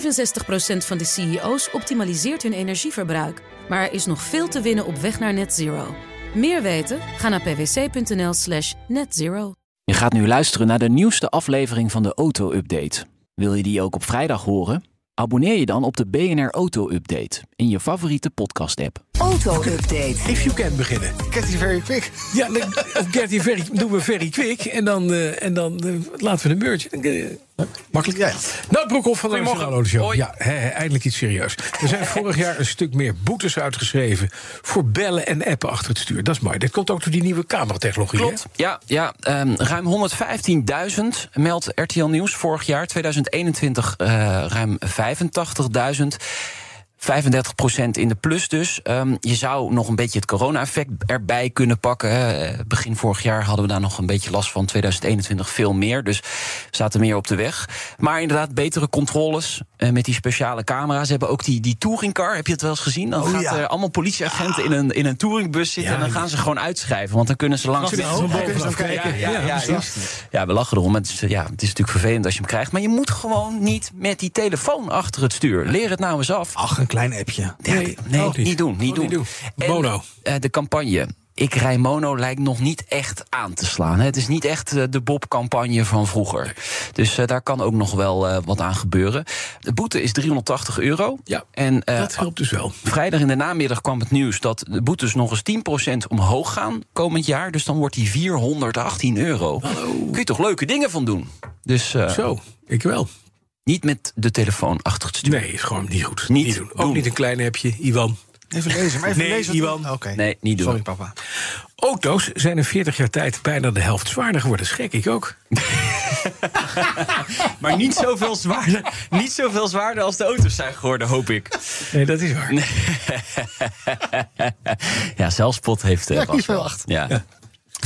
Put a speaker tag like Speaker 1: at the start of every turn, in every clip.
Speaker 1: 65% van de CEO's optimaliseert hun energieverbruik. Maar er is nog veel te winnen op weg naar net zero. Meer weten? Ga naar pwc.nl slash netzero.
Speaker 2: Je gaat nu luisteren naar de nieuwste aflevering van de Auto Update. Wil je die ook op vrijdag horen? Abonneer je dan op de BNR Auto Update in je favoriete podcast-app.
Speaker 3: Auto-update.
Speaker 4: If you can beginnen.
Speaker 5: Get it very quick.
Speaker 4: Ja, dan- of get here very, doen we very quick. En dan, eh, en dan eh, laten we een merge. Eh, makkelijk.
Speaker 5: Ja.
Speaker 4: Nou, Broekhoff van de
Speaker 6: Goedemorgen.
Speaker 4: Nationale Auto Show.
Speaker 6: Hoi.
Speaker 4: Ja, hè, hè, eindelijk iets serieus. Er zijn vorig jaar een stuk meer boetes uitgeschreven... voor bellen en appen achter het stuur. Dat is mooi. Dit komt ook door die nieuwe cameratechnologie. hè?
Speaker 2: Klopt. Ja, ja ehm, ruim 115.000 meldt RTL Nieuws vorig jaar. 2021 eh, ruim 85.000. 35% in de plus dus. Ehm, je zou nog een beetje het corona-effect erbij kunnen pakken. hè. Eh, Begin vorig jaar hadden we daar nog een beetje last van. 2021 veel meer, dus we zaten meer op de weg. Maar inderdaad, betere controles eh, met die speciale camera's. Ze hebben ook die, die touringcar, heb je het wel eens gezien? Dan gaat
Speaker 5: ja.
Speaker 2: er allemaal politieagenten in, een, in een touringbus zitten... en dan gaan ze gewoon uitschrijven, want dan kunnen ze langs...
Speaker 5: Vanaf de hoogte kunnen ze dan kijken.
Speaker 2: Ja, ja, ja, ja. Ja, we lachen erom. Het is, eh, ja, het is natuurlijk vervelend als je hem krijgt. Maar je moet gewoon niet met die telefoon achter het stuur. Leer het nou eens af.
Speaker 5: Ach, een klein appje.
Speaker 2: Ja,
Speaker 4: nee,
Speaker 2: nee,
Speaker 4: ook
Speaker 2: niet.
Speaker 4: niet.
Speaker 2: doen. Niet
Speaker 4: Gewoon
Speaker 2: doen.
Speaker 4: niet doen. Mono.
Speaker 2: eh, de campagne. Ik rij mono lijkt nog niet echt aan te slaan. hè. Het is niet echt eh, de Bob-campagne van vroeger. Dus eh, daar kan ook nog wel eh, wat aan gebeuren. De boete is 380 euro.
Speaker 4: Ja,
Speaker 2: en, eh,
Speaker 4: Dat helpt dus wel.
Speaker 2: Vrijdag in de namiddag kwam het nieuws dat de boetes nog eens 10% omhoog gaan komend jaar. Dus dan wordt die 418 euro. Kun je toch leuke dingen van doen? Dus eh,
Speaker 4: Zo, ik wel.
Speaker 2: niet met de telefoon achter het stuur.
Speaker 4: Nee, is gewoon niet goed.
Speaker 2: Niet
Speaker 4: doen. Ook
Speaker 2: doen.
Speaker 4: niet een klein appje, Iwan.
Speaker 5: Even lezen. Maar even
Speaker 4: Nee,
Speaker 5: lezen.
Speaker 4: Iwan.
Speaker 5: Oké.
Speaker 2: Nee, niet doen.
Speaker 5: Sorry, papa.
Speaker 4: Auto's zijn in 40 jaar tijd bijna de helft zwaarder geworden. Schrik ik ook.
Speaker 2: Maar niet zoveel, zwaarder, niet zoveel zwaarder als de auto's zijn geworden, hoop ik.
Speaker 4: Nee, dat is waar.
Speaker 2: ja, zelfspot heeft... eh,
Speaker 5: Ja, kies
Speaker 2: Bas wel.
Speaker 5: wel acht.
Speaker 2: Ja. Het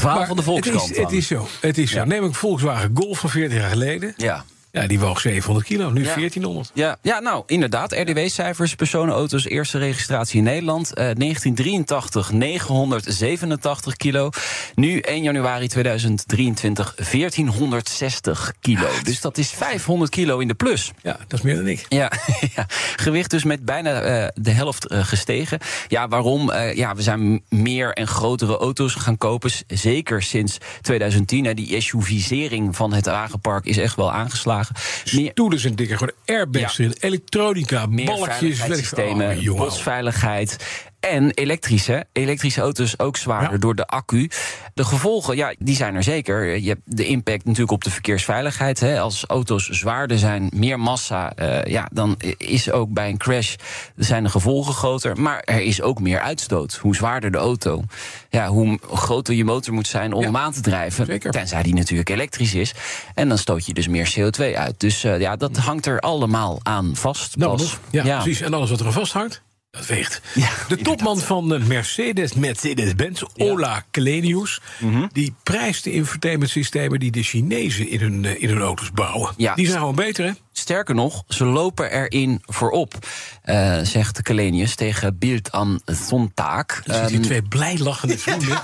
Speaker 2: verhaal
Speaker 4: Maar
Speaker 2: van de Volkskrant
Speaker 4: Het is,
Speaker 2: dan.
Speaker 4: het is zo. Het is zo. Neem ik Volkswagen Golf van 40 jaar geleden.
Speaker 2: Ja.
Speaker 4: Ja, die woog 700 kilo, nu
Speaker 2: Ja.
Speaker 4: 1400.
Speaker 2: Ja, ja, nou inderdaad. RDW-cijfers, personenauto's, eerste registratie in Nederland. eh, 1983, 987 kilo. Nu 1 januari 2023, 1460 kilo. Dus dat is 500 kilo in de plus.
Speaker 4: Ja, dat is meer dan ik.
Speaker 2: Ja, ja, gewicht dus met bijna eh, de helft eh, gestegen. Ja, waarom? Eh, ja, we zijn meer en grotere auto's gaan kopen. s- Zeker sinds 2010. Hè. Die SUV-zering van het wagenpark is echt wel aangeslagen. Meer,
Speaker 4: Toeders en dikker, gewoon airbags
Speaker 2: Ja.
Speaker 4: erin, elektronica,
Speaker 2: meer
Speaker 4: balkjes,
Speaker 2: veiligheidssystemen,
Speaker 4: weet ik veel. Oh, jongen.
Speaker 2: bosveiligheid. En elektrisch, hè? Elektrische auto's ook zwaarder
Speaker 4: Ja.
Speaker 2: door de accu. De gevolgen, ja, die zijn er zeker. Je hebt de impact natuurlijk op de verkeersveiligheid. Hè? Als auto's zwaarder zijn, meer massa, eh, ja, dan is ook bij een crash zijn de gevolgen groter. Maar er is ook meer uitstoot. Hoe zwaarder de auto, ja, hoe groter je motor moet zijn om
Speaker 4: Ja.
Speaker 2: hem aan te drijven.
Speaker 4: Zeker.
Speaker 2: Tenzij die natuurlijk elektrisch is. En dan stoot je dus meer CO2 uit. Dus eh, ja, dat hangt er allemaal aan vast.
Speaker 4: Nou,
Speaker 2: Bas.
Speaker 4: Bas, ja, precies. En alles wat er aan vasthangt, dat weegt.
Speaker 2: Ja,
Speaker 4: de topman van eh, Mercedes, Mercedes-Benz, Ola Kalenius...
Speaker 2: Mhm.
Speaker 4: die prijst de infotainmentsystemen die de Chinezen in hun, eh, in hun auto's bouwen.
Speaker 2: Ja.
Speaker 4: Die zijn gewoon beter, hè?
Speaker 2: Sterker nog, ze lopen erin voorop, eh, zegt Kalenius tegen Bild aan Zontaak. Eh,
Speaker 4: Er zitten hier Dus twee blij lachende vrienden.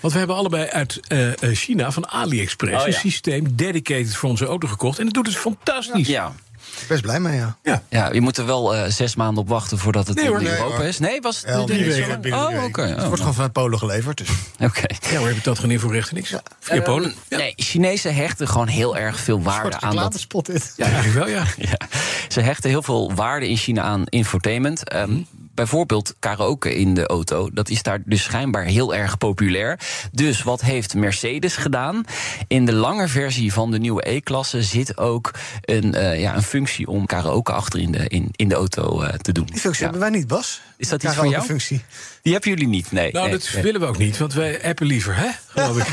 Speaker 4: Want we hebben allebei uit eh, eh, China van AliExpress
Speaker 2: Oh,
Speaker 4: een
Speaker 2: ja.
Speaker 4: systeem dedicated voor onze auto gekocht. En dat doet het fantastisch.
Speaker 2: ja.
Speaker 5: Best blij mee, ja.
Speaker 4: Ja.
Speaker 2: ja, je moet er wel eh, zes maanden op wachten voordat het
Speaker 4: Nee,
Speaker 2: in
Speaker 4: hoor, nee,
Speaker 2: Europa
Speaker 5: hoor.
Speaker 2: is. Nee, was het
Speaker 5: Ja,
Speaker 2: drie
Speaker 5: binnen
Speaker 2: weken?
Speaker 5: drie
Speaker 2: Oh,
Speaker 5: weken.
Speaker 2: oké.
Speaker 5: Het
Speaker 2: oh,
Speaker 5: wordt gewoon vanuit Polen geleverd. Dus.
Speaker 2: oké.
Speaker 4: Ja, hoor, heb ik dat geen inforecht en niks. Via Polen.
Speaker 2: Ehm, Nee, Chinezen hechten gewoon heel erg veel waarde aan dat
Speaker 5: spot dit.
Speaker 4: Ja, eigenlijk wel, ja.
Speaker 2: Ja, ze hechten heel veel waarde in China aan infotainment. Ehm,
Speaker 4: Mhm.
Speaker 2: Bijvoorbeeld karaoke in de auto. Dat is daar dus schijnbaar heel erg populair. Dus wat heeft Mercedes gedaan? In de lange versie van de nieuwe E-klasse zit ook een, eh, ja, een functie om karaoke achter in de, in, in de auto eh, te doen.
Speaker 5: Die functie
Speaker 2: Ja.
Speaker 5: hebben wij niet, Bas.
Speaker 2: Is dat
Speaker 5: Ja,
Speaker 2: iets van
Speaker 5: ook
Speaker 2: jou?
Speaker 5: een functie.
Speaker 2: Die hebben jullie niet, nee.
Speaker 4: Nou,
Speaker 2: nee,
Speaker 4: dat
Speaker 2: nee.
Speaker 4: willen we ook niet, want wij appen liever, hè? Geloof ik.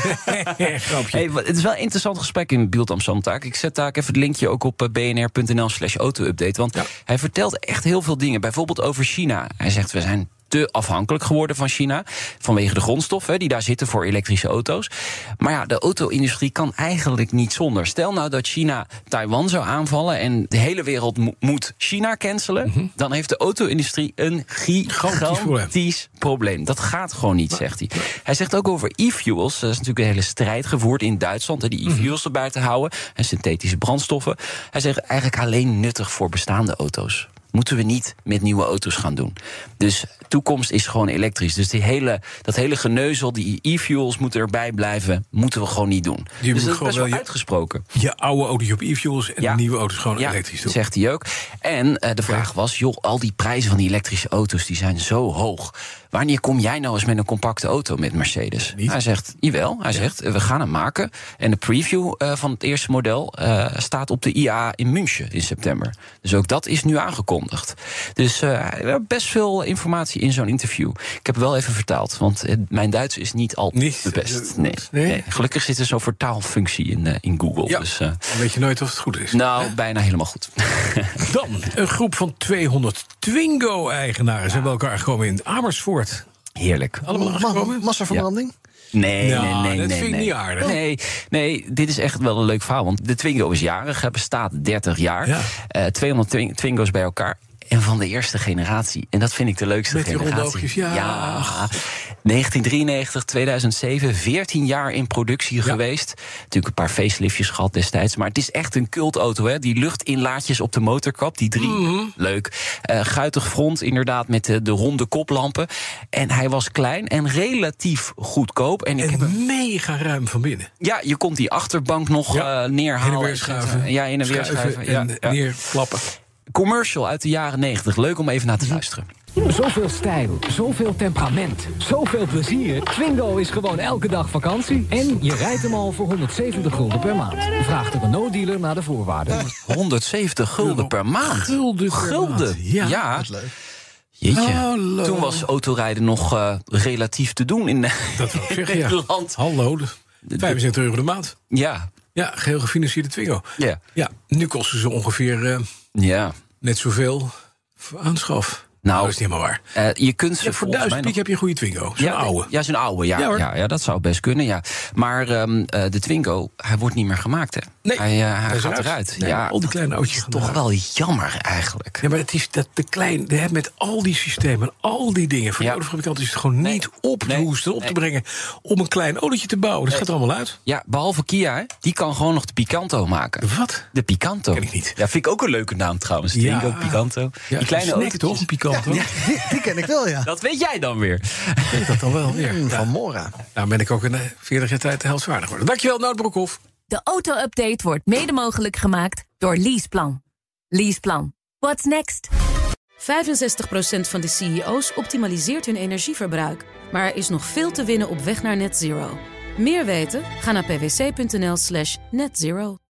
Speaker 4: Grapje.
Speaker 2: Hey, wa- het is wel een interessant gesprek in Beeld Amsterdam-taak. Ik zet daar even het linkje ook op eh, bnr.nl slash auto-update. Want hij vertelt echt heel veel dingen. Bijvoorbeeld over China. Hij zegt, we zijn te te afhankelijk geworden van China. Vanwege de grondstoffen die daar zitten voor elektrische auto's. Maar ja, de auto-industrie kan eigenlijk niet zonder. Stel nou dat China Taiwan zou aanvallen en de hele wereld mo- moet China cancelen. Dan heeft de auto-industrie een
Speaker 4: Mhm. Gigantisch probleem.
Speaker 2: gigantisch gigantisch probleem. Dat gaat gewoon niet, zegt hij. Hij zegt ook over e-fuels. Er is natuurlijk een hele strijd gevoerd in Duitsland... om
Speaker 4: Mhm.
Speaker 2: die e-fuels erbij te houden en synthetische brandstoffen. Hij zegt eigenlijk alleen nuttig voor bestaande auto's. Moeten we niet met nieuwe auto's gaan doen. Dus toekomst is gewoon elektrisch. Dus die hele, dat hele geneuzel, die e-fuels moeten erbij blijven... moeten we gewoon niet doen.
Speaker 4: moet
Speaker 2: dus dat is
Speaker 4: gewoon
Speaker 2: best
Speaker 4: wel
Speaker 2: wel
Speaker 4: je-
Speaker 2: uitgesproken.
Speaker 4: Je oude auto's op e-fuels en
Speaker 2: Ja.
Speaker 4: de nieuwe auto's gewoon
Speaker 2: Ja,
Speaker 4: elektrisch doen.
Speaker 2: zegt hij ook. En eh, de vraag was, joh, al die prijzen van die elektrische auto's... die zijn zo hoog. Wanneer kom jij nou eens met een compacte auto met Mercedes? Hij zegt, jawel. Hij zegt, eh, we gaan hem maken. En de preview eh, van het eerste model eh, staat op de IA in München in september. Dus ook dat is nu aangekondigd. Dus eh, er was best veel informatie in zo'n interview. Ik heb het wel even vertaald, want eh, mijn Duits is niet al
Speaker 4: Niet,
Speaker 2: te best.
Speaker 4: eh,
Speaker 2: Nee,
Speaker 4: nee?
Speaker 2: nee. Gelukkig zit er zo'n vertaalfunctie in, eh, in Google.
Speaker 4: Ja.
Speaker 2: Dus, eh,
Speaker 4: Dan weet je nooit of het goed is.
Speaker 2: nou, bijna helemaal goed.
Speaker 4: Dan een groep van 200 Twingo-eigenaren zijn bij elkaar gekomen in Amersfoort.
Speaker 2: Heerlijk.
Speaker 4: Allemaal aangekomen?
Speaker 5: Ma- massaverbranding?
Speaker 2: Nee,
Speaker 4: Ja,
Speaker 2: nee, nee.
Speaker 4: Nou, dat
Speaker 2: nee,
Speaker 4: vind ik
Speaker 2: nee.
Speaker 4: niet aardig. Oh.
Speaker 2: Nee, nee, dit is echt wel een leuk verhaal. Want de Twingo is jarig, hij bestaat 30 jaar.
Speaker 4: Ja.
Speaker 2: Eh, 200 twing- Twingo's bij elkaar. En van de eerste generatie. En dat vind ik de leukste
Speaker 4: Met die ronde
Speaker 2: generatie.
Speaker 4: oogjes, ja.
Speaker 2: 1993, 2007, 14 jaar in productie geweest. Natuurlijk een paar faceliftjes gehad destijds. Maar het is echt een cultauto, hè? Die luchtinlaatjes op de motorkap, die drie.
Speaker 4: Mhm.
Speaker 2: Leuk. Eh, guitig front, inderdaad, met de, de ronde koplampen. En hij was klein en relatief goedkoop. En ik heb hem
Speaker 4: En mega ruim van binnen.
Speaker 2: ja, je kon die achterbank nog
Speaker 4: Ja.
Speaker 2: eh,
Speaker 4: Heen
Speaker 2: neerhalen.
Speaker 4: en weer schuiven.
Speaker 2: Ja, in en weer schuiven. Ja,
Speaker 4: En
Speaker 2: ja.
Speaker 4: neerklappen.
Speaker 2: Commercial uit de jaren 90. Leuk om even naar te luisteren.
Speaker 3: Mhm. Zoveel stijl, zoveel temperament, zoveel plezier. Twingo is gewoon elke dag vakantie. En je rijdt hem al voor 170 gulden per maand. Vraag de Renault-dealer naar de voorwaarden.
Speaker 2: 170 gulden per maand.
Speaker 4: Gulden per
Speaker 2: Gulden.
Speaker 4: maand. Ja.
Speaker 2: Ja. Jeetje.
Speaker 3: Oh,
Speaker 4: Hallo.
Speaker 2: Toen was autorijden nog eh, relatief te doen in
Speaker 4: Dat wil ik zeggen, ja.
Speaker 2: Nederland.
Speaker 4: Hallo, de 75 euro de maand.
Speaker 2: Ja.
Speaker 4: Ja, geheel gefinancierde Twingo.
Speaker 2: Ja.
Speaker 4: Ja, nu kosten ze ongeveer eh,
Speaker 2: Ja.
Speaker 4: net zoveel voor aanschaf.
Speaker 2: Nou,
Speaker 4: dat is niet helemaal waar.
Speaker 2: Eh, je kunt ze
Speaker 4: Ja, voor
Speaker 2: volgens mij
Speaker 4: duizend piek
Speaker 2: nog-
Speaker 4: heb je een goede Twingo. Zo'n
Speaker 2: ja,
Speaker 4: oude.
Speaker 2: Ja, zo'n oude, ja.
Speaker 4: Ja,
Speaker 2: Ja,
Speaker 4: hoor.
Speaker 2: ja, dat zou best kunnen, ja. Maar ehm, eh, de Twingo, hij wordt niet meer gemaakt, hè?
Speaker 4: Nee,
Speaker 2: hij, eh,
Speaker 4: hij
Speaker 2: hij
Speaker 4: is
Speaker 2: gaat
Speaker 4: eruit.
Speaker 2: eruit.
Speaker 4: Nee,
Speaker 2: ja,
Speaker 4: al die kleine
Speaker 2: dat
Speaker 4: oudjes
Speaker 2: is
Speaker 4: gaan
Speaker 2: toch
Speaker 4: eruit.
Speaker 2: wel jammer eigenlijk.
Speaker 4: Ja, maar het is dat de klein, hè, met al die systemen, en al die dingen. Voor
Speaker 2: Ja.
Speaker 4: de autofabrikant is het gewoon niet op te
Speaker 2: Nee.
Speaker 4: hoesten, op te
Speaker 2: Nee.
Speaker 4: brengen. om een klein autootje te bouwen. Dat gaat er allemaal uit.
Speaker 2: Ja, behalve Kia, hè, die kan gewoon nog de Picanto maken.
Speaker 4: Wat?
Speaker 2: De Picanto.
Speaker 4: Ken ik niet.
Speaker 2: Ja, vind ik ook een leuke naam trouwens.
Speaker 4: Ja.
Speaker 2: Twingo, Picanto.
Speaker 4: Ja,
Speaker 2: die kleine
Speaker 4: snack,
Speaker 2: autootjes.
Speaker 4: toch? Een Picanto. Ja,
Speaker 5: Die, die ken ik wel, ja. Mm,
Speaker 2: Dat weet jij dan weer.
Speaker 4: dat dan wel weer. Ja.
Speaker 5: Van Mora.
Speaker 4: Nou ben ik ook in de 40 jaar tijd de helft zwaarder geworden. Dankjewel, Nout Broekhoff.
Speaker 6: De auto-update wordt mede mogelijk gemaakt door Leaseplan. Leaseplan. What's next?
Speaker 1: 65% van de CEO's optimaliseert hun energieverbruik. Maar er is nog veel te winnen op weg naar net zero. Meer weten? Ga naar pwc.nl slash netzero.